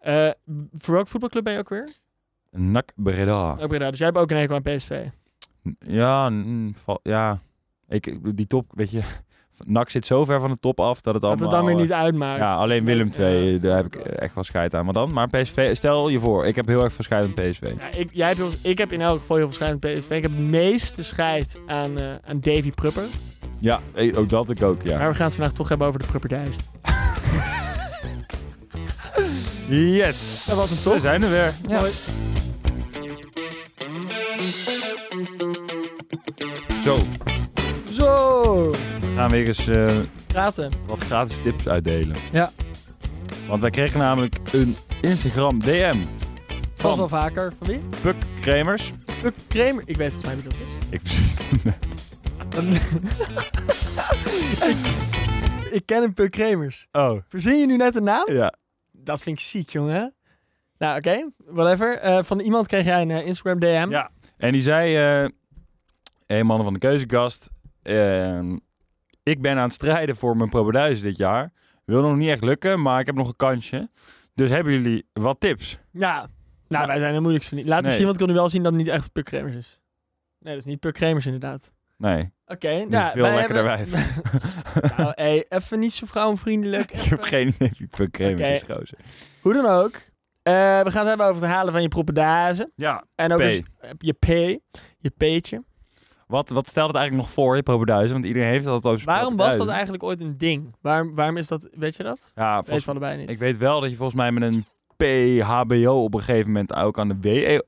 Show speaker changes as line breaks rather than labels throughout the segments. Eh, Voor welke voetbalclub ben je ook weer?
Nak Breda.
Ook Breda. Dus jij hebt ook een hekel aan PSV.
Ja, mm, val- ja. Ik, die top, weet je. Nak zit zo ver van de top af dat het
Dat
allemaal... eh,
het dan weer niet uitmaakt.
Ja, alleen Willem
Ja,
2,
dat
daar
snap
heb ik eh,
wel.
echt wel scheid aan. Maar dan, maar PSV, stel je voor, ik heb heel erg veel scheid aan PSV.
Ja, ik, jij hebt, heel- ik heb in elk geval heel veel scheid aan PSV. Ik heb het meeste scheid aan, eh, aan Davy Prupper.
Ja, eh, ook dat ik ook, ja.
Maar we gaan het vandaag toch hebben over de Prupper 1000.
Yes!
Dat was het toch?
We zijn er weer. Ja.
Mooi.
Zo,
Zo,
gaan we weer eens eh,
praten.
wat gratis tips uitdelen.
Ja.
Want wij kregen namelijk een Instagram DM
Vast wel
van
vaker. Van wie?
Puk Kremers.
Een creme. Ik weet volgens mij wie dat is.
Ik,
Ik ken een Puk Kremers.
oh,
Verzin je nu net een naam?
ja.
Dat vind ik ziek, jongen. Nou, oké. Whatever. Eh, van iemand kreeg jij een eh, Instagram DM.
Ja. En die zei, eh hey mannen van de keuzekast, ehm, ik ben aan het strijden voor mijn Pro 1000 dit jaar. Wil nog niet echt lukken, maar ik heb nog een kansje. Dus hebben jullie wat tips?
Ja. Nou, wij zijn de moeilijkste niet. Laat eens
Nee.
zien, want ik kon nu wel zien dat het niet echt Puk Kremers is. Nee, dat is niet Puk Kremers inderdaad.
Nee,
Oké.
die
nou,
is veel
wij
lekkerder
hebben-
wijf.
Nou, hey, even niet zo vrouwenvriendelijk.
ik heb geen idee wie Puk Kremers
Oké.
is, gozer.
Hoe dan ook. eh, we gaan het hebben over het halen van je propedazen.
Ja,
En ook
P.
eens- eh, je P. Je P'tje.
wat, wat stelt het eigenlijk nog voor, je Pro 1000? Want iedereen heeft dat over zijn
Waarom
Pro
was
1000.
dat eigenlijk ooit een ding? Waarom, waarom is dat, weet je dat?
Ja,
Weet
volgens,
van allebei niet.
ik weet wel dat je volgens mij met een PHBO op een gegeven moment ook aan de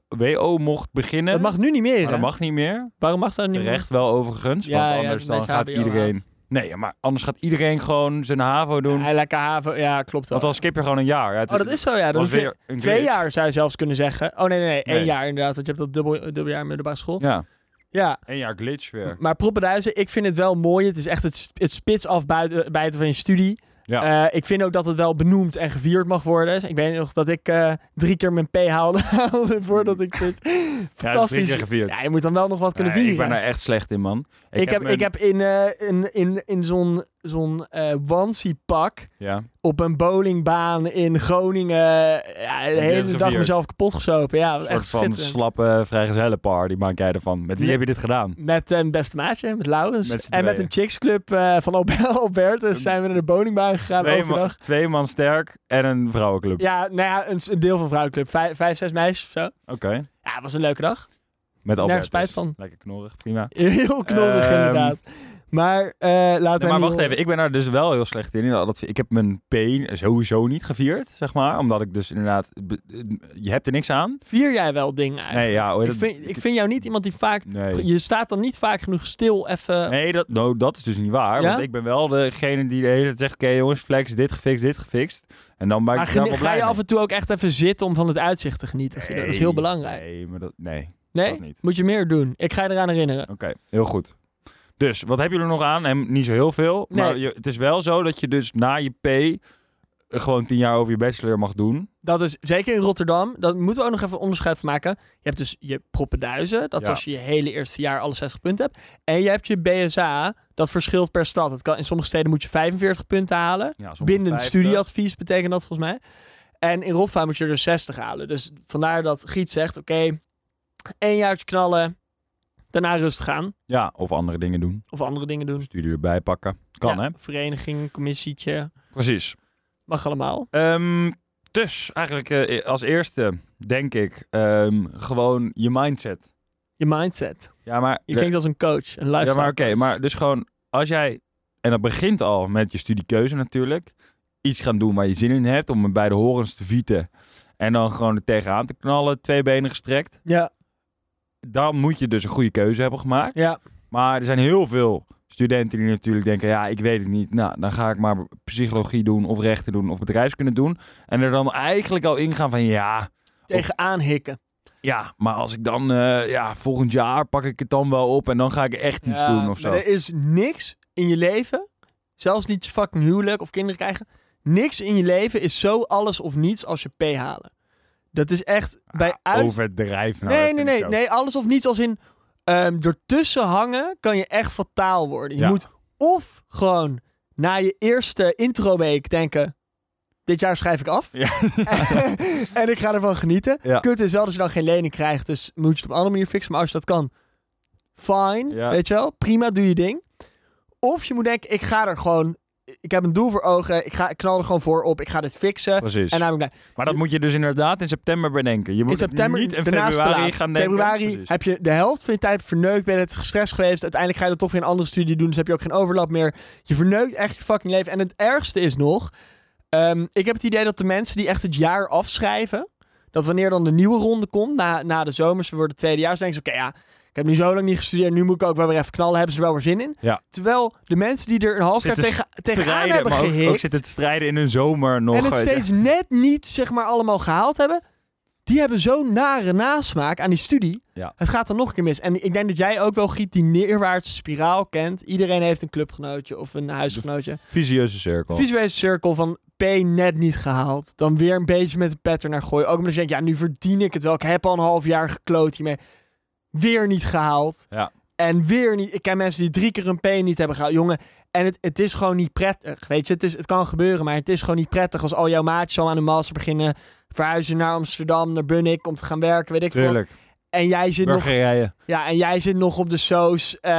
WE WO mocht beginnen.
dat mag nu niet meer.
maar
hè?
dat mag niet meer.
Waarom mag dat niet meer?
Terecht wel overigens,
Ja, ja,
want anders
de
dan
mensen
gaat
HBO
iedereen...
haat.
Nee, maar anders gaat iedereen gewoon zijn HAVO doen.
Ja, lekker haven. Ja, klopt wel.
want dan skip je gewoon een jaar. Ja, het-
Oh, dat is zo, ja. Dan
was
hoef je-
weer een
twee
glitch.
jaar zou je zelfs kunnen zeggen. Oh, nee, nee, nee. één
Nee.
jaar inderdaad. Want je hebt dat dubbel, dubbeljaar middelbare school.
Ja,
Ja.
één jaar glitch weer.
Maar proppenduizen, ik vind het wel mooi. Het is echt het, sp- het spits afbijten van je studie.
Ja.
Eh, ik vind ook dat het wel benoemd en gevierd mag worden. Ik weet nog dat ik eh, drie keer mijn P haalde, haalde voordat ik dit...
Ja, dat is drie
Fantastisch.
keer gevierd.
Ja, je moet dan wel nog wat kunnen
Nee, ik
vieren.
ben daar echt slecht in, man.
ik, heb,
mijn-
ik heb in, eh, in, in, in zo'n zo'n eh onesie-pak
Ja.
op een bowlingbaan in Groningen eh, ja, de hele dag
gevierd.
mezelf kapot gesopen. Ja,
Een
echt
soort van
schitterend.
slappe vrijgezellenpaar, die maak jij ervan. Met wie
Nee.
heb je dit gedaan?
Met eh, mijn beste maatje, met Laurens.
Met z'n
en met
tweeën.
een chicksclub eh van Albert- Albertus zijn we naar de bowlingbaan gegaan
twee, man,
overdag.
twee man sterk en een vrouwenclub.
Ja, nou ja, een, s- een deel van vrouwenclub. Vijf, vijf, zes meisjes of zo.
Oké.
Ja, het was een leuke dag.
Met Albert.
spijt van.
Lekker knorrig, prima.
Heel knorrig
Ehm,
inderdaad. Maar eh, laten laat
Nee,
hij niet
maar wacht even, ik ben daar dus wel heel slecht in. Dat- Ik heb mijn P sowieso niet gevierd, zeg maar. Omdat ik dus inderdaad... be- eh, Je hebt er niks aan.
Vier jij wel dingen eigenlijk?
Nee, ja. hoe heet
ik,
dat?
vind, ik vind jou niet iemand die vaak...
Nee.
Je staat dan niet vaak genoeg stil even...
Nee, dat, nou, dat is dus niet waar.
Ja?
Want ik ben wel degene die de hele tijd zegt... Oké jongens, flex, dit gefixt, dit gefixt. En dan maak
maar
ik daar
geni-
wel
ga
blij
je
mee.
af en toe ook echt even zitten om van het uitzicht te genieten? Guido? dat is heel
Nee,
belangrijk.
Nee, maar dat... Nee,
Nee?
dat niet.
Moet je meer doen. Ik ga je eraan herinneren.
Oké, heel goed. Dus, wat hebben jullie er nog aan? En niet zo heel veel. Maar
Nee.
je- het is wel zo dat je dus na je P... gewoon tien jaar over je bachelor mag doen.
Dat is zeker in Rotterdam. Daar moeten we ook nog even onderscheid van maken. Je hebt dus je proppenduizen. Dat is
Ja.
als je je hele eerste jaar alle 60 punten hebt. En je hebt je BSA. Dat verschilt per stad. Het kan, in sommige steden moet je 45 punten halen.
Ja, sommige
Bindend
50.
studieadvies betekent dat volgens mij. En in Roffa moet je er dus 60 halen. Dus vandaar dat Giet zegt, oké, één jaartje knallen, daarna rust gaan.
Ja, of andere dingen doen. Dus
Of andere dingen doen.
Studie erbij pakken. Kan,
Ja,
hè?
Vereniging, commissietje,
Precies.
mag allemaal.
Ehm, dus, eigenlijk eh, als eerste, denk ik, ehm, gewoon je mindset.
Je mindset.
Ja, maar...
Je klinkt als een coach, een
Ja,
lifestyle
maar oké,
coach.
maar dus gewoon als jij, en dat begint al met je studiekeuze natuurlijk, iets gaan doen waar je zin in hebt om bij de horens te vieten en dan gewoon er tegenaan te knallen, twee benen gestrekt,
Ja,
dan moet je dus een goede keuze hebben gemaakt.
ja.
Maar er zijn heel veel studenten die natuurlijk denken, ja, ik weet het niet, nou, dan ga ik maar psychologie doen of rechten doen of bedrijfskunde doen en er dan eigenlijk al ingaan van, ja,
Tegenaan hikken.
ja, maar als ik dan, eh, ja, volgend jaar pak ik het dan wel op en dan ga ik echt iets
Ja,
doen of zo.
maar Er is niks in je leven, zelfs niet je fucking huwelijk of kinderen krijgen. Niks in je leven is zo alles of niets als je P halen. Dat is echt bij
Ah,
uit...
Overdrijf nou.
nee, nee,
dat vind ik
nee,
zo.
nee. Alles of niets als in... ehm ertussen hangen kan je echt fataal worden. Je
Ja.
moet of gewoon na je eerste introweek denken... dit jaar schrijf ik af.
Ja.
en ik ga ervan genieten.
Ja.
Kut is wel dat je dan geen lening krijgt. Dus moet je het op een andere manier fixen. Maar als je dat kan, fine.
Ja.
Weet je wel? Prima, doe je ding. Of je moet denken, ik ga er gewoon... Ik heb een doel voor ogen. Ik, ga, ik knal er gewoon voor op. Ik ga dit fixen.
Precies.
En dan heb ik blij.
maar dat moet je dus inderdaad in september bedenken. Je moet
in
het
september,
niet in
daarnaast te
februari
laat.
gaan denken.
Februari
Precies.
heb je de helft van je tijd verneukt. Ben je het gestrest geweest. Uiteindelijk ga je dat toch weer een andere studie doen. Dus heb je ook geen overlap meer. Je verneukt echt je fucking leven. En het ergste is nog... ehm, ik heb het idee dat de mensen die echt het jaar afschrijven... Dat wanneer dan de nieuwe ronde komt, na, na de zomers, we worden tweedejaars, denken ze, oké ja, ik heb nu zo lang niet gestudeerd, nu moet ik ook wel weer even knallen, hebben ze er wel weer zin in.
Ja.
Terwijl de mensen die er een half jaar
Zitten
tegen, tegenaan
Strijden,
hebben
maar ook-
gehikt,
ook, zitten te strijden in hun zomer nog. eh,
en het
weet je.
steeds net niet, zeg maar, allemaal gehaald hebben. Die hebben zo'n nare nasmaak aan die studie.
Ja.
Het gaat dan nog een keer mis. En ik denk dat jij ook wel, Giet, die neerwaartse spiraal kent. Iedereen heeft een clubgenootje of een huisgenootje.
Visieuze cirkel.
Visuele cirkel van P net niet gehaald. Dan weer een beetje met de pattern naar gooien. Ook omdat je denkt, ja, nu verdien ik het wel. Ik heb al een half jaar gekloot hiermee. Weer niet gehaald.
Ja.
En weer niet. Ik ken mensen die drie keer een P niet hebben gehaald. Jongen, en het, het is gewoon niet prettig. Weet je, het, is, het kan gebeuren, maar het is gewoon niet prettig als al jouw maatjes al aan de master beginnen. Verhuizen naar Amsterdam, naar Bunnik om te gaan werken, weet ik veel. wat.
Tuurlijk.
En jij zit, nog,
Burgerrijen.
ja, en jij zit nog op de soos. eh,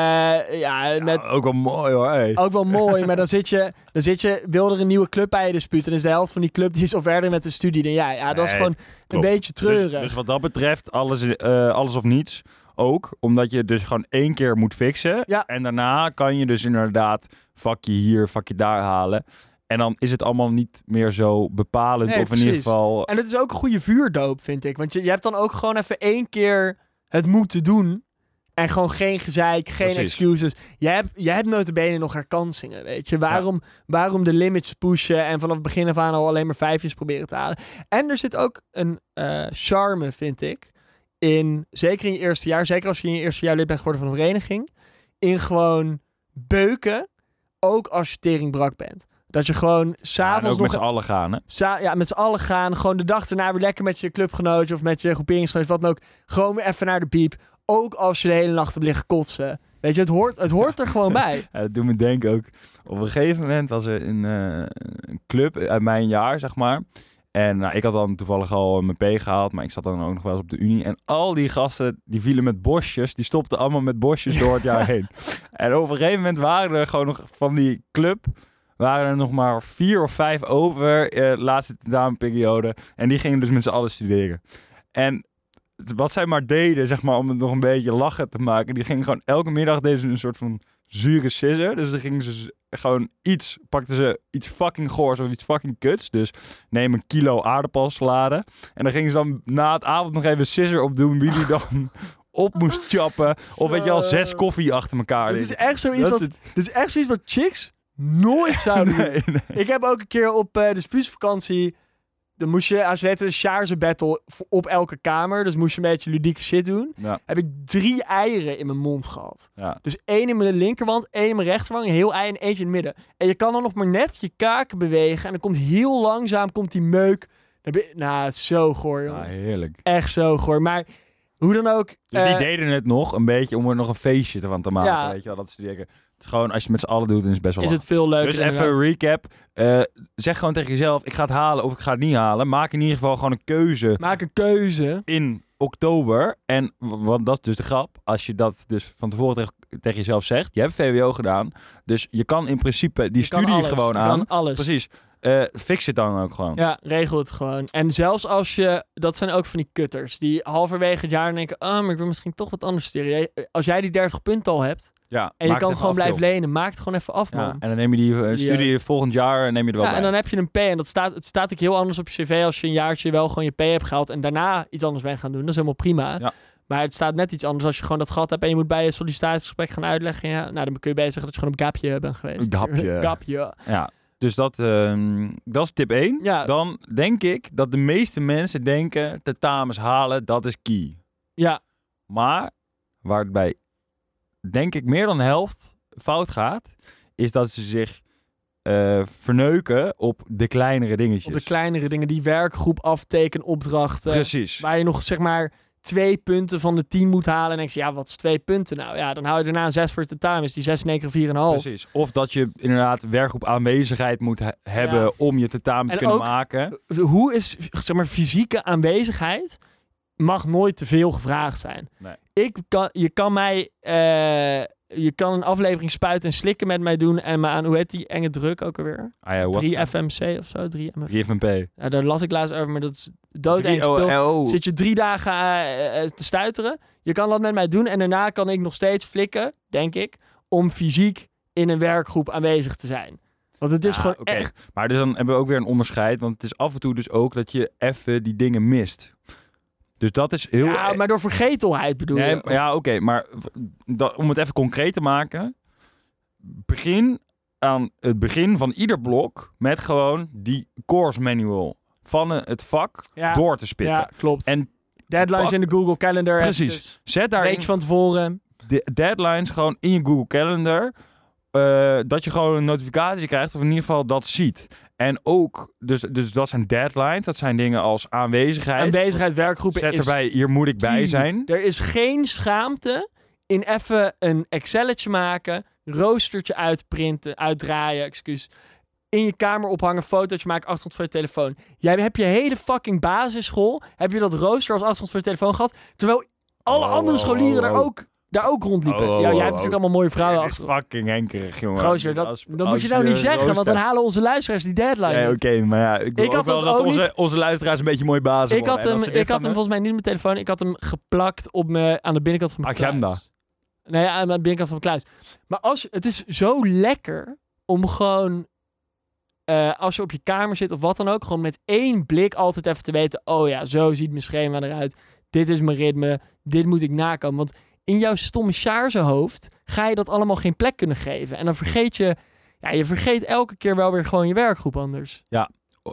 ja, met, Oh,
ook wel mooi hoor. hey.
ook wel mooi, maar dan zit je, dan zit je, wil er een nieuwe club bij je dispuut. En is de helft van die club die is al verder met de studie dan jij. Ja, dat is
Nee,
gewoon een
klopt.
beetje treurig.
Dus, dus wat dat betreft, alles, eh, alles of niets ook. Omdat je dus gewoon één keer moet fixen.
Ja.
En daarna kan je dus inderdaad vakje hier, vakje daar halen. En dan is het allemaal niet meer zo bepalend.
Nee,
of in
precies.
ieder geval...
En het is ook een goede vuurdoop, vind ik. Want je, je hebt dan ook gewoon even één keer het moeten doen. En gewoon geen gezeik, geen
Precies.
excuses. Jij hebt, jij hebt notabene nog herkansingen, weet je. Waarom, waarom de limits pushen en vanaf het begin af aan al alleen maar vijfjes proberen te halen. En er zit ook een eh, charme, vind ik. In, zeker in je eerste jaar, zeker als je in je eerste jaar lid bent geworden van een vereniging. In gewoon beuken, ook als je teringbrak bent. Dat je gewoon
Ja, en ook
s'avonds nog
met z'n allen gaan, hè?
Sa- ja, met z'n allen gaan. Gewoon de dag erna weer lekker met je clubgenootje of met je groeperingsgenootje, wat dan ook. Gewoon weer even naar de piep. Ook als je de hele nacht hebt liggen kotsen. Weet je, het hoort, het hoort er gewoon bij.
Ja, Eh, dat doet me denken ook. Op een gegeven moment was er een, eh, een club uit mijn jaar, zeg maar. En nou, ik had dan toevallig al mijn P gehaald, maar ik zat dan ook nog wel eens op de Unie. En al die gasten, die vielen met bosjes. Die stopten allemaal met bosjes door het jaar heen. En op een gegeven moment waren er gewoon nog van die club... waren er nog maar vier of vijf over eh, de laatste tentamenperiode. En die gingen dus met z'n allen studeren. En t- wat zij maar deden, zeg maar, om het nog een beetje lachen te maken... die gingen gewoon elke middag deden ze een soort van zure scissor. Dus dan gingen ze z- gewoon iets, pakten ze iets fucking goors of iets fucking kuts. Dus neem een kilo aardappelsalade. En dan gingen ze dan na het avond nog even scissor opdoen wie die dan op moest chappen. Of weet je al, zes koffie achter elkaar.
eh, Dit Oh, is
drinken.
echt zoiets
Dat
wat,
is
dit is echt zoiets wat chicks nooit zouden doen.
Nee, nee.
Ik heb ook een keer op eh, de spuusvakantie... Dan moest je, als je het een Sjaarse battle v- op elke kamer. Dus moest je een beetje ludieke shit doen.
Ja.
Heb ik drie eieren in mijn mond gehad.
Ja.
Dus één in mijn linkerwand, één in mijn rechterwang, een heel ei en eentje in het midden. En je kan dan nog maar net je kaken bewegen. En dan komt heel langzaam komt die meuk. Dan ben je- nou, het is zo goor, jongen.
Ah, Ja, heerlijk.
Echt zo goor. Maar hoe dan ook.
Dus die
eh,
deden het nog een beetje om er nog een feestje van te maken.
Ja.
Weet je wel, dat studeren. Het is gewoon, als je het met z'n allen doet, dan is het best wel
is
lachen.
het veel leuker.
Dus even een
inderdaad.
recap. Eh, zeg gewoon tegen jezelf, ik ga het halen of ik ga het niet halen. Maak in ieder geval gewoon een keuze
Maak een keuze.
in oktober. En w- want dat is dus de grap. Als je dat dus van tevoren tegen, tegen jezelf zegt. Je hebt VWO gedaan. Dus je kan in principe die
Je kan
studie
alles.
gewoon
Je
aan.
Kan alles.
Precies. Eh, fix het dan ook gewoon.
Ja, regel het gewoon. En zelfs als je, dat zijn ook van die kutters, die halverwege het jaar denken, ah, maar ik wil misschien toch wat anders studeren. Jij- eh, Als jij die 30 punten al hebt en
Ja, maak
je
het
kan
even
gewoon
af, joh.
blijven lenen, maak het gewoon even af,
Ja,
man.
en dan neem je die eh,
Die,
studie volgend jaar en neem je er wel
Ja, en
bij.
dan heb je een P en dat staat, het staat ook heel anders op je cv als je een jaartje wel gewoon je P hebt gehaald en daarna iets anders bent gaan doen. Dat is helemaal prima.
Ja.
Maar het staat net iets anders als je gewoon dat gat hebt en je moet bij je sollicitatiegesprek gaan uitleggen. Ja, nou, dan kun je bij zeggen dat je gewoon op gapje bent geweest.
Een gapje.
gapje.
Ja, dus dat, ehm, dat is tip 1.
Ja.
Dan denk ik dat de meeste mensen denken... tentamens halen, dat is key.
Ja,
Maar waarbij denk ik meer dan de helft fout gaat... is dat ze zich eh, verneuken op de kleinere dingetjes.
op de kleinere dingen, die werkgroep, aftekenopdrachten.
Precies.
Waar je nog zeg maar twee punten van de 10 moet halen. En denk je, ja, wat is twee punten nou? Ja, dan hou je daarna een 6 voor de time. Is die 6 in één keer vier en een half.
Precies. Of dat je inderdaad werkgroep aanwezigheid moet he- hebben
Ja.
om je tentamen te
En
kunnen
ook- eh,
maken.
Hoe is, zeg maar, fysieke aanwezigheid mag nooit te veel gevraagd zijn.
Nee.
Ik kan, je kan mij, eh, je kan een aflevering spuiten en slikken met mij doen. En me aan, hoe heet die enge druk ook alweer?
Ah ja, what's that?
3FMC of zo, 3MF.
Give and pay.
Nou, daar las ik laatst over, maar dat is dood eng
3
spul.
OLO.
Zit je drie dagen eh, eh, te stuiteren. Je kan dat met mij doen en daarna kan ik nog steeds flikken, denk ik, om fysiek in een werkgroep aanwezig te zijn. Want het is
Ja,
gewoon
Ah, oké.
echt...
Maar dus dan hebben we ook weer een onderscheid. Want het is af en toe dus ook dat je even die dingen mist. Dus dat is heel...
Ja, maar door vergetelheid bedoel
Nee,
je?
maar ja, oké. maar w- dat- om het even concreet te maken. Begin aan het begin van ieder blok met gewoon die course manual van eh, het vak
Ja.
door te spitten.
Ja, klopt.
En
Deadlines
pak-
in de Google Calendar.
Precies.
eventjes.
Zet
Een
daar
week van tevoren.
de deadlines gewoon in je Google Calendar. eh, dat je gewoon een notificatie krijgt, of in ieder geval dat ziet. En ook, dus, dus dat zijn deadlines, dat zijn dingen als aanwezigheid.
Aanwezigheid, werkgroepen
Zet
is
erbij, hier moet ik bij
key.
zijn.
Hm. Er is geen schaamte in even een Excelletje maken, roostertje uitprinten, uitdraaien, excuus. In je kamer ophangen, fotootje maken, achtergrond voor je telefoon. Jij hebt je hele fucking basisschool, heb je dat rooster als achtergrond voor je telefoon gehad, terwijl alle
Oh,
andere
oh,
scholieren
oh,
daar
oh.
ook, daar ook rondliepen.
Oh, oh,
ja,
oh,
jij hebt
oh,
natuurlijk
oh.
allemaal mooie vrouwen
Dit is
achter.
fucking henkerig, jongen.
Gozer, dat,
Als-
dat moet
als
je nou niet zeggen, want
rooster-
dan halen onze luisteraars die deadline.
Nee,
niet.
oké, maar ja, ik,
Ik
wil
had
ook wel
dat
dat
ook
onze,
niet.
onze luisteraars een beetje mooie bazen
Ik had
worden. En
hem,
als ze dit
ik had
gaan
hem volgens mij niet op mijn telefoon. Ik had hem geplakt op me, aan de binnenkant van mijn
Agenda.
kluis. Nee, aan de binnenkant van mijn kluis. Maar als, je- het is zo lekker om gewoon... eh, als je op je kamer zit of wat dan ook... gewoon met één blik altijd even te weten... oh ja, zo ziet mijn schema eruit. Dit is mijn ritme. Dit moet ik nakomen. Want in jouw stomme sjaarse hoofd... ga je dat allemaal geen plek kunnen geven. En dan vergeet je... Ja, je vergeet elke keer wel weer gewoon je werkgroep anders.
doen.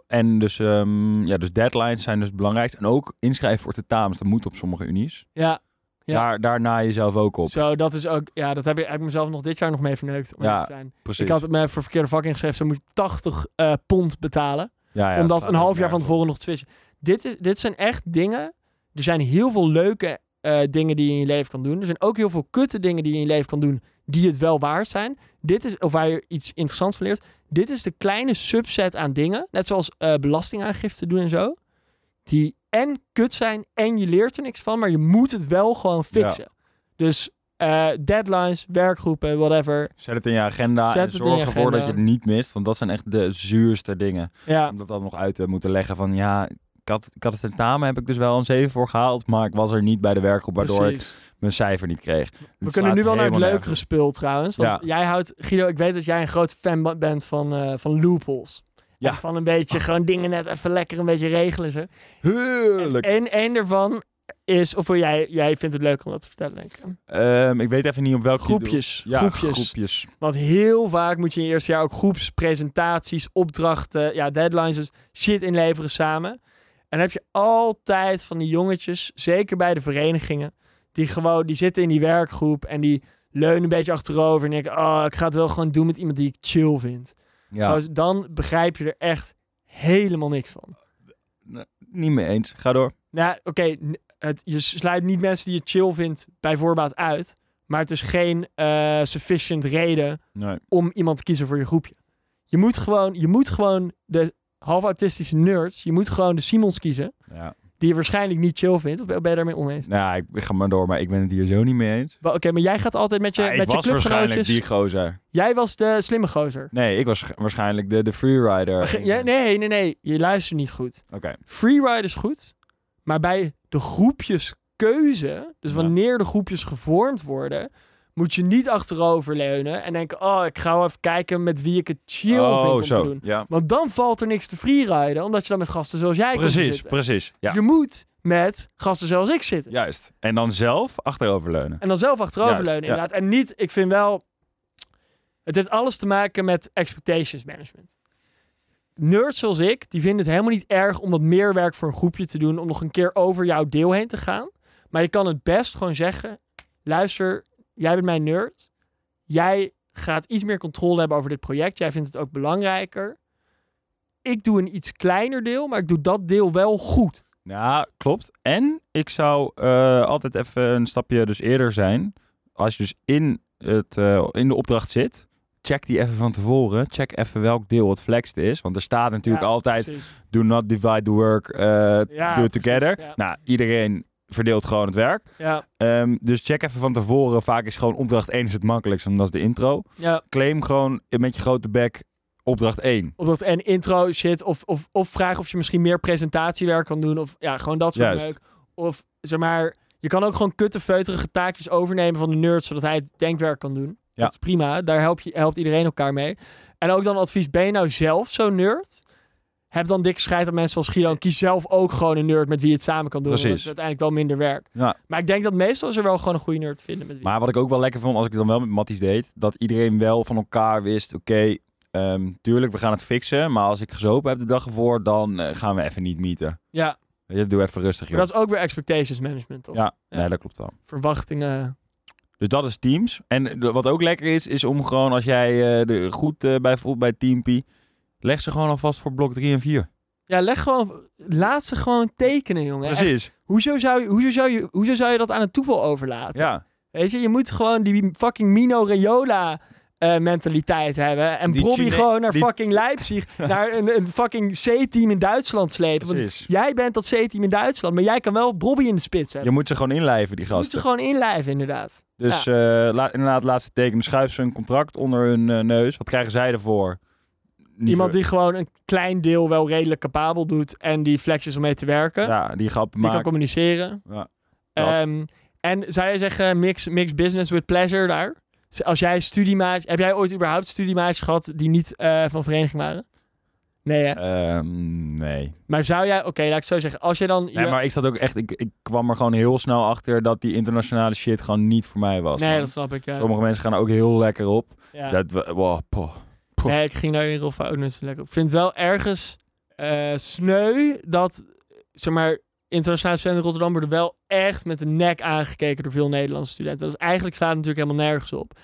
En dus, ehm, ja, dus deadlines zijn dus het belangrijkste. En ook inschrijven voor tentamens, dat moet op sommige unies.
Ja, Ja.
Daar, daar naai je zelf ook op.
Zo, dat is ook. Ja, dat heb ik, heb ik mezelf nog dit jaar nog mee verneukt. Om
Ja,
eerlijk te zijn.
Precies.
Ik had me voor verkeerde vak ingeschreven. Zo moet je 80 eh, pond betalen.
ja, ja,
om dat
staat
een half
ook
jaar van
nergens op.
tevoren nog te switchen. Dit, is, dit zijn echt dingen. Er zijn heel veel leuke eh, dingen die je in je leven kan doen. Er zijn ook heel veel kutte dingen die je in je leven kan doen. Die het wel waard zijn. Dit is, of waar je iets interessants van leert. Dit is de kleine subset aan dingen. Net zoals eh, belastingaangifte doen en zo. Die en kut zijn en je leert er niks van. Maar je moet het wel gewoon fixen. Dus eh, deadlines, werkgroepen, whatever.
Zet het in je agenda
Zet
en
het in
zorg
je
ervoor dat je het
agenda.
niet mist. Want dat zijn echt de zuurste dingen.
Ja.
Om dat dan nog uit te moeten leggen van ja, ik had, ik had het tentamen, heb ik dus wel een 7 voor gehaald. Maar ik was er niet bij de werkgroep, waardoor ik
precies.
mijn cijfer niet kreeg.
We kunnen nu wel naar het leukere spul trouwens. Want
Ja.
jij houdt, Guido, ik weet dat jij een groot fan ba- bent van, eh, van loopholes.
Ja. Ah.
En van een beetje gewoon dingen net even lekker een beetje regelen. Ze.
Heerlijk.
En één daarvan is, of jij, jij vindt het leuk om dat te vertellen, denk ik.
Ehm, ik weet even niet op welke
Groepjes,
Ja,
groepjes.
groepjes.
Want heel vaak moet je in je eerste jaar ook groepspresentaties, opdrachten, ja, deadlines, dus shit inleveren samen. En dan heb je altijd van die jongetjes, zeker bij de verenigingen, die gewoon, die zitten in die werkgroep en die leunen een beetje achterover en denken, oh, ik ga het wel gewoon doen met iemand die ik chill vind.
Ja,
Trouwens, dan begrijp je er echt helemaal niks van.
niet mee eens. Ga door.
Nou, oké, n- het- je sluit niet mensen die je chill vindt bij voorbaat uit, maar het is geen eh, sufficient reden
Nee.
om iemand te kiezen voor je groepje. Je moet gewoon, je moet gewoon de half-autistische nerds, je moet gewoon de Simons kiezen,
Ja.
die je waarschijnlijk niet chill vindt. Of ben ben je daarmee oneens?
Nou, ja, ik, ik ga maar door, maar ik ben het hier zo niet mee eens.
Wel, Oké, maar jij gaat altijd met je,
Ja, ik
met je
was waarschijnlijk
clubgenootjes.
die gozer.
Jij was de slimme gozer.
Nee, ik was ge- waarschijnlijk de, de freerider.
Maar ge- ja, nee, nee, nee. Je luistert niet goed.
Oké.
Freeride is goed, maar bij de groepjeskeuze, dus
Ja.
wanneer de groepjes gevormd worden, moet je niet achterover leunen en denken, oh, ik ga wel even kijken met wie ik het chill vind
oh,
om
zo.
te doen.
Ja.
Want dan valt er niks te freeriden, omdat je dan met gasten zoals jij kunt
Precies,
zitten.
precies. Ja.
Je moet met gasten zoals ik zitten.
Juist. En dan zelf achteroverleunen.
En dan zelf achteroverleunen
Juist, ja.
inderdaad. En niet, ik vind wel... Het heeft alles te maken met expectations management. Nerds zoals ik, die vinden het helemaal niet erg om wat meer werk voor een groepje te doen. Om nog een keer over jouw deel heen te gaan. Maar je kan het best gewoon zeggen. Luister, jij bent mijn nerd. Jij gaat iets meer controle hebben over dit project. Jij vindt het ook belangrijker. Ik doe een iets kleiner deel, maar ik doe dat deel wel goed.
Nou, klopt. En ik zou eh, altijd even een stapje dus eerder zijn. Als je dus in, het, eh, in de opdracht zit, check die even van tevoren. Check even welk deel het flexed is. Want er staat natuurlijk
Ja,
altijd,
precies.
do not divide the work, eh,
Ja,
do
precies,
it together.
ja.
Nou, iedereen verdeelt gewoon het werk.
Ja,
Ehm, dus check even van tevoren. Vaak is gewoon opdracht 1 is het makkelijkst, want dat is de intro.
ja.
Claim gewoon met je grote bek opdracht 1.
Op dat en intro shit. Of, of, of vraag of je misschien meer presentatiewerk kan doen. Of ja, gewoon dat soort
Juist.
leuk. Of zeg maar, je kan ook gewoon kutte feuterige taakjes overnemen van de nerd. Zodat hij het denkwerk kan doen.
Ja.
Dat is prima. Daar help je, helpt iedereen elkaar mee. En ook dan advies, ben je nou zelf zo'n nerd? Heb dan dikke scheid aan mensen zoals Guido. En kies zelf ook gewoon een nerd met wie je het samen kan doen. want dat
Precies.
is uiteindelijk wel minder werk.
Ja.
Maar ik denk dat meestal is er wel gewoon een goede nerd te vinden. Met wie.
Maar wat ik ook wel lekker vond als ik het dan wel met Matties deed, dat iedereen wel van elkaar wist: oké, ehm, tuurlijk, we gaan het fixen. Maar als ik gezopen heb de dag ervoor, dan eh, gaan we even niet meeten.
ja,
Weet je, doe even rustig, joh.
maar dat is ook weer expectations management, toch?
Ja,
Ja.
nee, dat klopt wel.
Verwachtingen.
Dus dat is Teams. En de- wat ook lekker is, is om gewoon als jij eh, de, goed eh, bijvoorbeeld bij Teampie, leg ze gewoon alvast voor blok 3 en 4.
Ja, leg gewoon, laat ze gewoon tekenen, jongen. Echt
Precies.
Hoezo zou, je, hoezo, zou je, hoezo zou je dat aan het toeval overlaten?
Ja.
Weet je, je moet gewoon die fucking Mino Raiola eh, mentaliteit hebben. En
Die
Bobby
Chine-
gewoon naar
die-
fucking Leipzig, naar een, een fucking C-team in Duitsland slepen. Want
Precies.
jij bent dat C-team in Duitsland, maar jij kan wel Bobby in de spits
Je
hebben.
moet ze gewoon inlijven, die
Je moet ze
gasten.
gewoon inlijven, inderdaad.
Dus eh, la- inderdaad, laatste teken. Schuif ze een contract onder hun eh, neus. Wat krijgen zij ervoor? Niet
Iemand
zo-
die gewoon een klein deel wel redelijk capabel doet en die flex is om mee te werken.
Ja, die grap
die kan
maakt.
communiceren.
Ja, dat.
Ehm, en zou je zeggen, mix, mix business with pleasure daar? Z- Als jij studiemaatjes... Heb jij ooit überhaupt studiemaatjes gehad die niet eh, van vereniging waren? Nee, hè?
Ehm, nee.
Maar zou jij... Oké, laat ik het zo zeggen. Als je dan...
nee.
je-
Maar ik zat ook echt. Ik, ik kwam er gewoon heel snel achter dat die internationale shit gewoon niet voor mij was.
nee
man.
dat snap ik, ja.
Sommige mensen gaan er ook heel lekker op.
Ja.
Dat, we- wow, poh. poeh.
Nee, ik ging daar in Rolfa ook niet zo lekker op. Ik vind het wel ergens eh, sneu dat, zeg maar, internationale studenten in Rotterdam worden wel echt met de nek aangekeken door veel Nederlandse studenten. Dat is eigenlijk slaat het natuurlijk helemaal nergens op.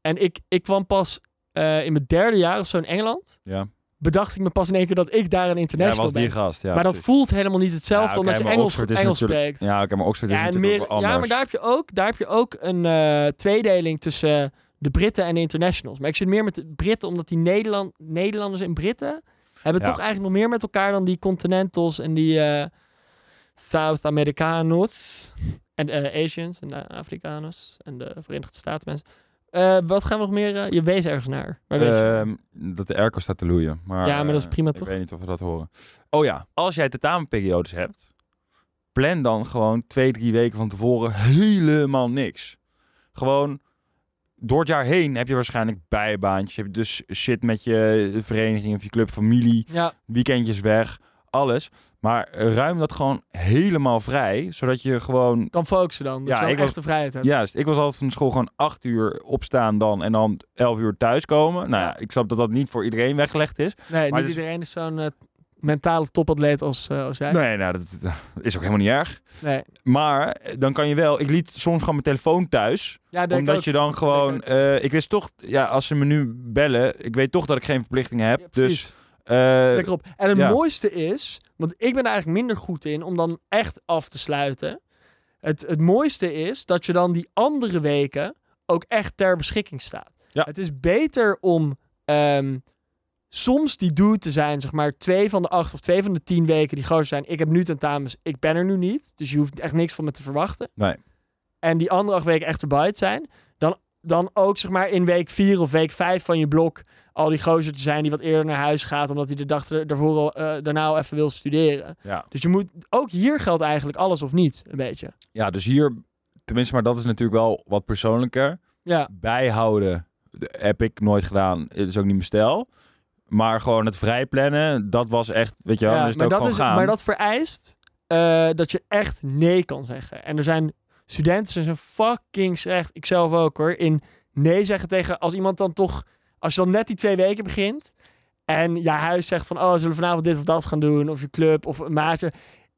En ik, ik kwam pas eh, in mijn derde jaar of zo in Engeland,
Ja.
bedacht ik me pas in één keer dat ik daar een
Jij
international
was die
ben.
gast. Ja,
maar dat
precies.
voelt helemaal niet hetzelfde,
Ja, oké,
omdat je
maar
Engels,
Oxford is
Engels
natuurlijk-
spreekt.
Ja, oké, maar Oxford is
en
natuurlijk
meer-
ook anders.
ja, maar daar heb je ook, daar heb je ook een eh, tweedeling tussen eh, de Britten en de internationals. Maar ik zit meer met de Britten, omdat die Nederland, Nederlanders en Britten hebben
Ja.
toch eigenlijk nog meer met elkaar dan die Continentals en die eh, South Americanos en eh, Asians en de Afrikaners en de Verenigde Staten mensen. Eh, wat gaan we nog meer? eh, je wees ergens naar. Waar wees je?
Ehm, dat de airco staat te loeien. Maar,
Ja, maar dat is
eh,
prima, toch?
Ik weet niet of we dat horen. Oh ja, als jij tentamenperiodes hebt, plan dan gewoon twee, drie weken van tevoren helemaal niks. Gewoon door het jaar heen heb je waarschijnlijk bijbaantjes. Heb je dus shit met je vereniging of je club, familie,
ja,
weekendjes weg, alles. Maar ruim dat gewoon helemaal vrij, zodat je gewoon
kan focussen dan. Dus
Ja,
ja,
ik
ik
was-
echt de vrijheid hebt.
Juist, ik was altijd van school gewoon acht uur opstaan dan en dan elf uur thuiskomen. Nou ja, ik snap dat dat niet voor iedereen weggelegd is.
Nee,
Maar
niet
dus-
iedereen is zo'n eh, mentale topatleet als, eh, als jij.
Nee, nou, dat dat is ook helemaal niet erg.
Nee.
Maar eh, dan kan je wel, ik liet soms gewoon mijn telefoon thuis.
Ja, denk ik
omdat
ook.
je dan gewoon,
ook.
eh, ik wist toch, ja, als ze me nu bellen, ik weet toch dat ik geen verplichtingen heb.
Ja, precies.
dus, eh,
Lekker op. En het
ja.
mooiste is, want ik ben er eigenlijk minder goed in om dan echt af te sluiten. Het, het mooiste is dat je dan die andere weken ook echt ter beschikking staat.
Ja.
Het is beter om ehm, soms die dude te zijn, zeg maar twee van de acht of twee van de tien weken die groot zijn. Ik heb nu tentamens, ik ben er nu niet. Dus je hoeft echt niks van me te verwachten.
Nee.
En die andere acht weken echt erbij te zijn. Dan, dan ook zeg maar in week vier of week vijf van je blok al die gozer te zijn die wat eerder naar huis gaat, omdat hij de dag er- daarvoor al, eh, daarna al even wil studeren.
Ja.
Dus je moet, ook hier geldt eigenlijk alles of niet, een beetje.
ja, dus hier, tenminste, maar dat is natuurlijk wel wat persoonlijker.
Ja,
bijhouden de- heb ik nooit gedaan. Het is ook niet mijn stijl. Maar gewoon het vrij plannen, dat was echt, weet je wel,
ja,
dan is het
maar, dat
ook gewoon
is,
gaan.
maar dat vereist eh, dat je echt nee kan zeggen. En er zijn studenten, ze zijn fucking slecht, ikzelf ook hoor, in nee zeggen tegen als iemand dan toch, als je dan net die twee weken begint en je huis zegt van, oh, zullen we vanavond dit of dat gaan doen, of je club of een maatje,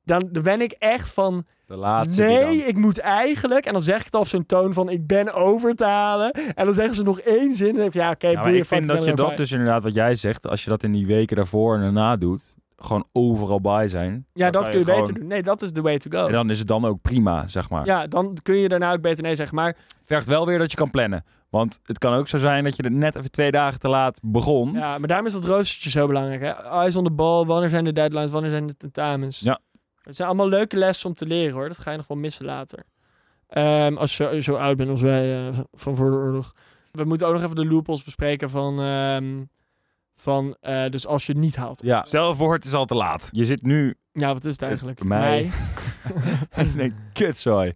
dan, dan ben ik echt van,
De laatste die
Nee,
dan.
ik moet eigenlijk. En dan zeg ik het op zo'n toon van ik ben over te halen. En dan zeggen ze nog één zin. En dan denk ik, ja, oké,
Ja, maar
boeien,
ik vind
fuck,
dat dus- je
ben er
dat
ook bij.
dus inderdaad, wat jij zegt, als je dat in die weken daarvoor en daarna doet, gewoon overal bij zijn.
Ja,
dan
dat
kan
kun je
gewoon-
beter doen. Nee, dat is the way to go.
En dan is het dan ook prima, zeg maar.
Ja, dan kun je daarna ook beter nee zeggen. Maar
Vergt wel weer dat je kan plannen. Want het kan ook zo zijn dat je er net even twee dagen te laat begon.
Ja, maar daarom is dat roostertje zo belangrijk. Hè? Eyes on the ball, wanneer zijn de deadlines, wanneer zijn de tentamens.
Ja.
Het zijn allemaal leuke lessen om te leren hoor. Dat ga je nog wel missen later. Ehm, als je zo oud bent als wij eh, van voor de oorlog. We moeten ook nog even de loopholes bespreken van... ehm, van eh, dus als je het niet haalt.
Ja. Stel voor, het is al te laat. Je zit nu
Ja, wat is het eigenlijk?
Het- mij. en je denkt, kutzooi.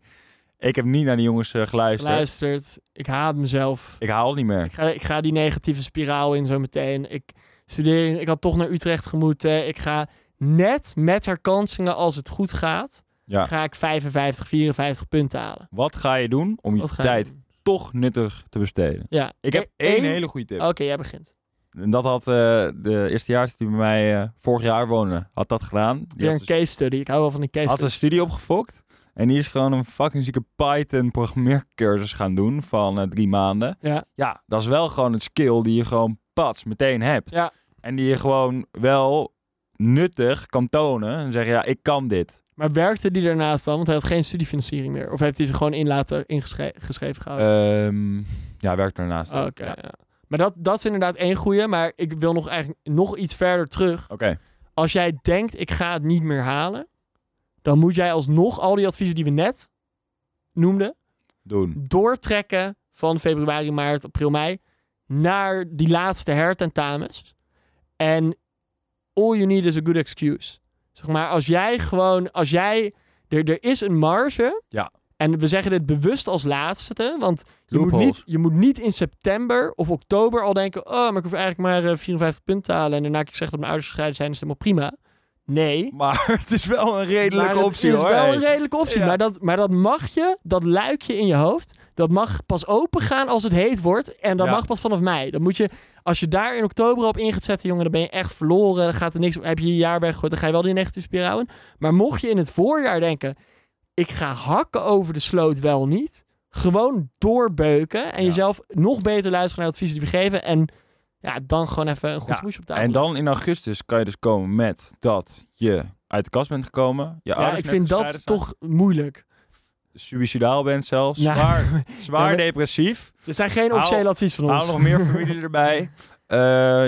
Ik heb niet naar die jongens eh, geluisterd.
Luistert. Ik haat mezelf.
Ik haal het niet meer.
Ik ga, ik ga die negatieve spiraal in zo meteen. Ik studeer, ik had toch naar Utrecht gemoeten. Ik ga net met herkansingen, als het goed gaat,
Ja.
ga ik 55, 54 punten halen.
Wat ga je doen om je
Wat ga ik
tijd
doen?
toch nuttig te besteden?
Ja.
Ik heb
E-
één
één- Oh.
hele goede tip.
Oké, jij begint.
En dat had eh, de eerstejaars die bij mij eh, vorig jaar woonde, had dat gedaan. Die
Weer
had
een
een
case study. Ik hou wel van een case
dus- had
study.
een studie opgefokt. En die is gewoon een fucking zieke Python programmeercursus gaan doen van eh, drie maanden.
Ja.
Ja, dat is wel gewoon een skill die je gewoon pats meteen hebt.
Ja.
En die je gewoon wel nuttig kan tonen. En zeggen, ja, ik kan dit.
Maar werkte die daarnaast dan? Want hij had geen studiefinanciering meer. Of heeft hij ze gewoon in laten ingeschreven gehouden?
Ehm, ja, werkt daarnaast.
Oh, Oké,
Ja.
ja. Maar dat, dat is inderdaad één goede. Maar ik wil nog eigenlijk nog iets verder terug.
Oké,
als jij denkt ik ga het niet meer halen, dan moet jij alsnog al die adviezen die we net noemden
doen.
doortrekken van februari, maart, april, mei naar die laatste hertentamens. En all you need is a good excuse. Zeg maar als jij gewoon als jij er, er is een marge.
Ja.
En we zeggen dit bewust als laatste, want je moet,
Loopholes.
niet, je moet niet in september of oktober al denken: oh, maar ik hoef eigenlijk maar eh, 54 punten te halen. En daarna heb ik zeg dat mijn ouders gescheiden zijn, is het helemaal prima. Nee.
Maar het is wel een
Maar
redelijke
dat
optie
is
hoor.
wel
Hey.
een redelijke optie.
Ja.
Maar, dat, maar dat mag je, dat luikje in je hoofd, dat mag pas open gaan als het heet wordt. En dat
Ja.
mag pas vanaf mei. Dan moet je, als je daar in oktober op in gaat zetten, jongen, dan ben je echt verloren. Dan gaat er niks, heb je je jaar weggegooid, dan ga je wel die negatieve spiraal in. Maar mocht je in het voorjaar denken, ik ga hakken over de sloot wel niet. Gewoon doorbeuken en
Ja.
jezelf nog beter luisteren naar de adviezen die we geven. En ja, dan gewoon even een goed
Ja,
smoesje op tafel.
En dan in augustus kan je dus komen met dat je uit de kast bent gekomen. Je
ja,
ouders
ik
net
vind
gescheiden
dat
zijn,
toch moeilijk.
Suicidaal bent zelfs.
Ja.
Zwaar,
Ja,
zwaar
maar-
depressief.
Er zijn geen officiële advies van ons.
Haal nog meer familie erbij. Eh,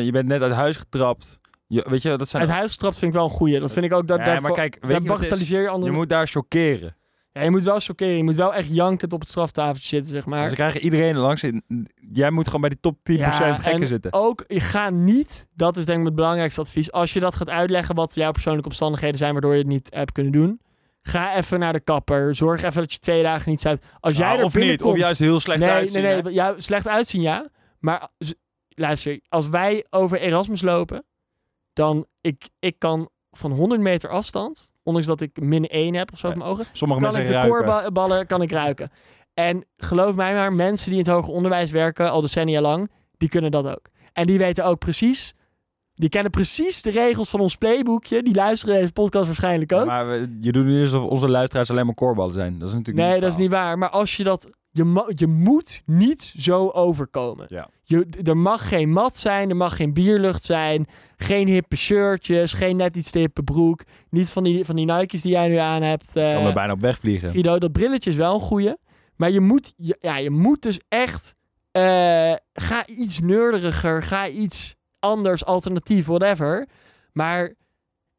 je bent net uit huis getrapt. Je, weet je, Nou, dat zijn...
Het huis trapt vind ik wel een goeie. Dat vind ik ook. Dat,
Nee,
daar
maar kijk, weet
daar
je wat het is?
bagatelliseer je
Je
anderen.
moet daar chockeren.
Ja, je moet wel chockeren. Je moet wel echt jankend op het straftafeltje zitten, zeg maar.
Ze krijgen iedereen er langs. Jij moet gewoon bij die top 10%
Ja,
gekken
en
zitten.
Ook, je ga niet, dat is denk ik het belangrijkste advies. Als je dat gaat uitleggen wat jouw persoonlijke omstandigheden zijn waardoor je het niet hebt kunnen doen. Ga even naar de kapper. Zorg even dat je twee dagen niet zuipt. Als jij
Ah,
er
of niet,
binnenkomt-
of juist heel slecht
nee,
uitzien.
Nee,
hè?
nee, ja, slecht uitzien, ja. Maar z- luister, als wij over Erasmus lopen, dan ik, ik kan van 100 meter afstand, ondanks dat ik min 1 heb of zo op mijn ogen,
Sommige
kan
mensen
ik de
ruiken.
koorballen kan ik ruiken. En geloof mij maar, mensen die in het hoger onderwijs werken al decennia lang, die kunnen dat ook. En die weten ook precies, die kennen precies de regels van ons playboekje. Die luisteren deze podcast waarschijnlijk ook.
Maar we- je doet nu dus alsof onze luisteraars alleen maar koorballen zijn. Dat is natuurlijk
Nee,
niet
dat is niet waar. Maar als je dat. Je, mo- je moet niet zo overkomen.
Ja.
Je, d- er mag geen mat zijn, er mag geen bierlucht zijn, geen hippe shirtjes, geen net iets te hippe broek. Niet van die, van die Nike's die jij nu aan hebt.
Ik
eh,
kan er bijna op wegvliegen.
Guido, dat brilletje is wel een goeie. Maar je moet, je- ja, je moet dus echt. eh, ga iets neurderiger, ga iets anders, alternatief, whatever. Maar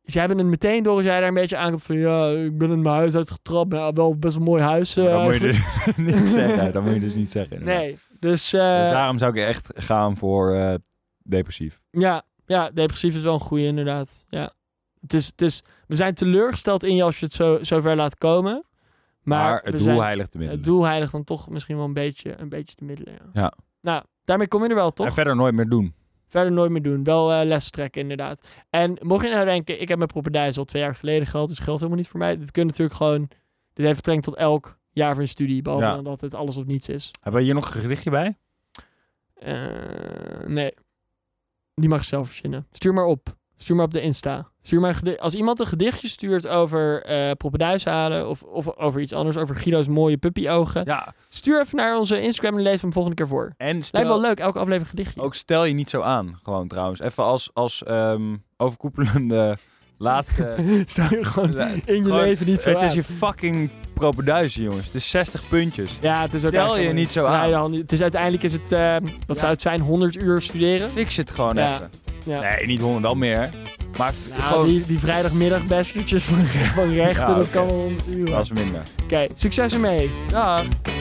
ze hebben het meteen door als jij daar een beetje aankomt van... Ja, ik ben in mijn huis uitgetrapt. Nou, wel best een mooi huis. eh,
Maar dat moet je
eigenlijk.
dus niet zeggen. Dat moet je dus niet zeggen. inderdaad.
Nee, dus... eh,
Dus daarom zou ik echt gaan voor eh, depressief.
Ja, ja, depressief is wel een goede inderdaad. Ja. Het is, het is, we zijn teleurgesteld in je als je het zo, zo ver laat komen. Maar,
Maar, het
we
doel
zijn,
heiligt de middelen.
Het doel heiligt dan toch misschien wel een beetje, een beetje de middelen. Ja.
Ja.
Nou, daarmee kom je er wel toch?
En verder nooit meer doen.
Verder nooit meer doen. Wel eh, les trekken, inderdaad. En mocht je nou denken, ik heb mijn propertijs al twee jaar geleden gehad, dus geldt helemaal niet voor mij. Dit kun je natuurlijk gewoon. Dit heeft betrekking tot elk jaar van je studie, behalve
Ja.
dan dat het alles of niets is.
Hebben we hier nog een gedichtje bij?
Eh, nee. Die mag je zelf verzinnen. Stuur maar op. Stuur maar op de Insta. Stuur maar een gedi- Als iemand een gedichtje stuurt over eh poppenduis halen of, of over iets anders, over Guido's mooie puppyogen,
Ja.
stuur even naar onze Instagram en lees hem volgende keer voor.
En
Lijkt wel
stel,
leuk, elke aflevering een gedichtje.
ook stel je niet zo aan. Gewoon trouwens. Even als, als ehm, overkoepelende Laatste.
Stel je gewoon
la-
in je
gewoon-
leven niet zo
Het
aan.
is je fucking propenduizen, jongens. Het is 60 puntjes.
Ja, het is ook
Tel je
eigenlijk-
niet zo
het is
aan.
eigenlijk al niet- Het is uiteindelijk is het, eh, wat zou het zijn, 100 uur studeren?
Fix het gewoon
Ja.
even.
Ja.
Nee, niet 100, wel meer. Maar f-
Nou,
gewoon...
die, die vrijdagmiddag van, van rechten,
Ja,
dat
oké.
kan wel 100 uur.
Dat
Oké,
is minder.
succes ermee.
Dag.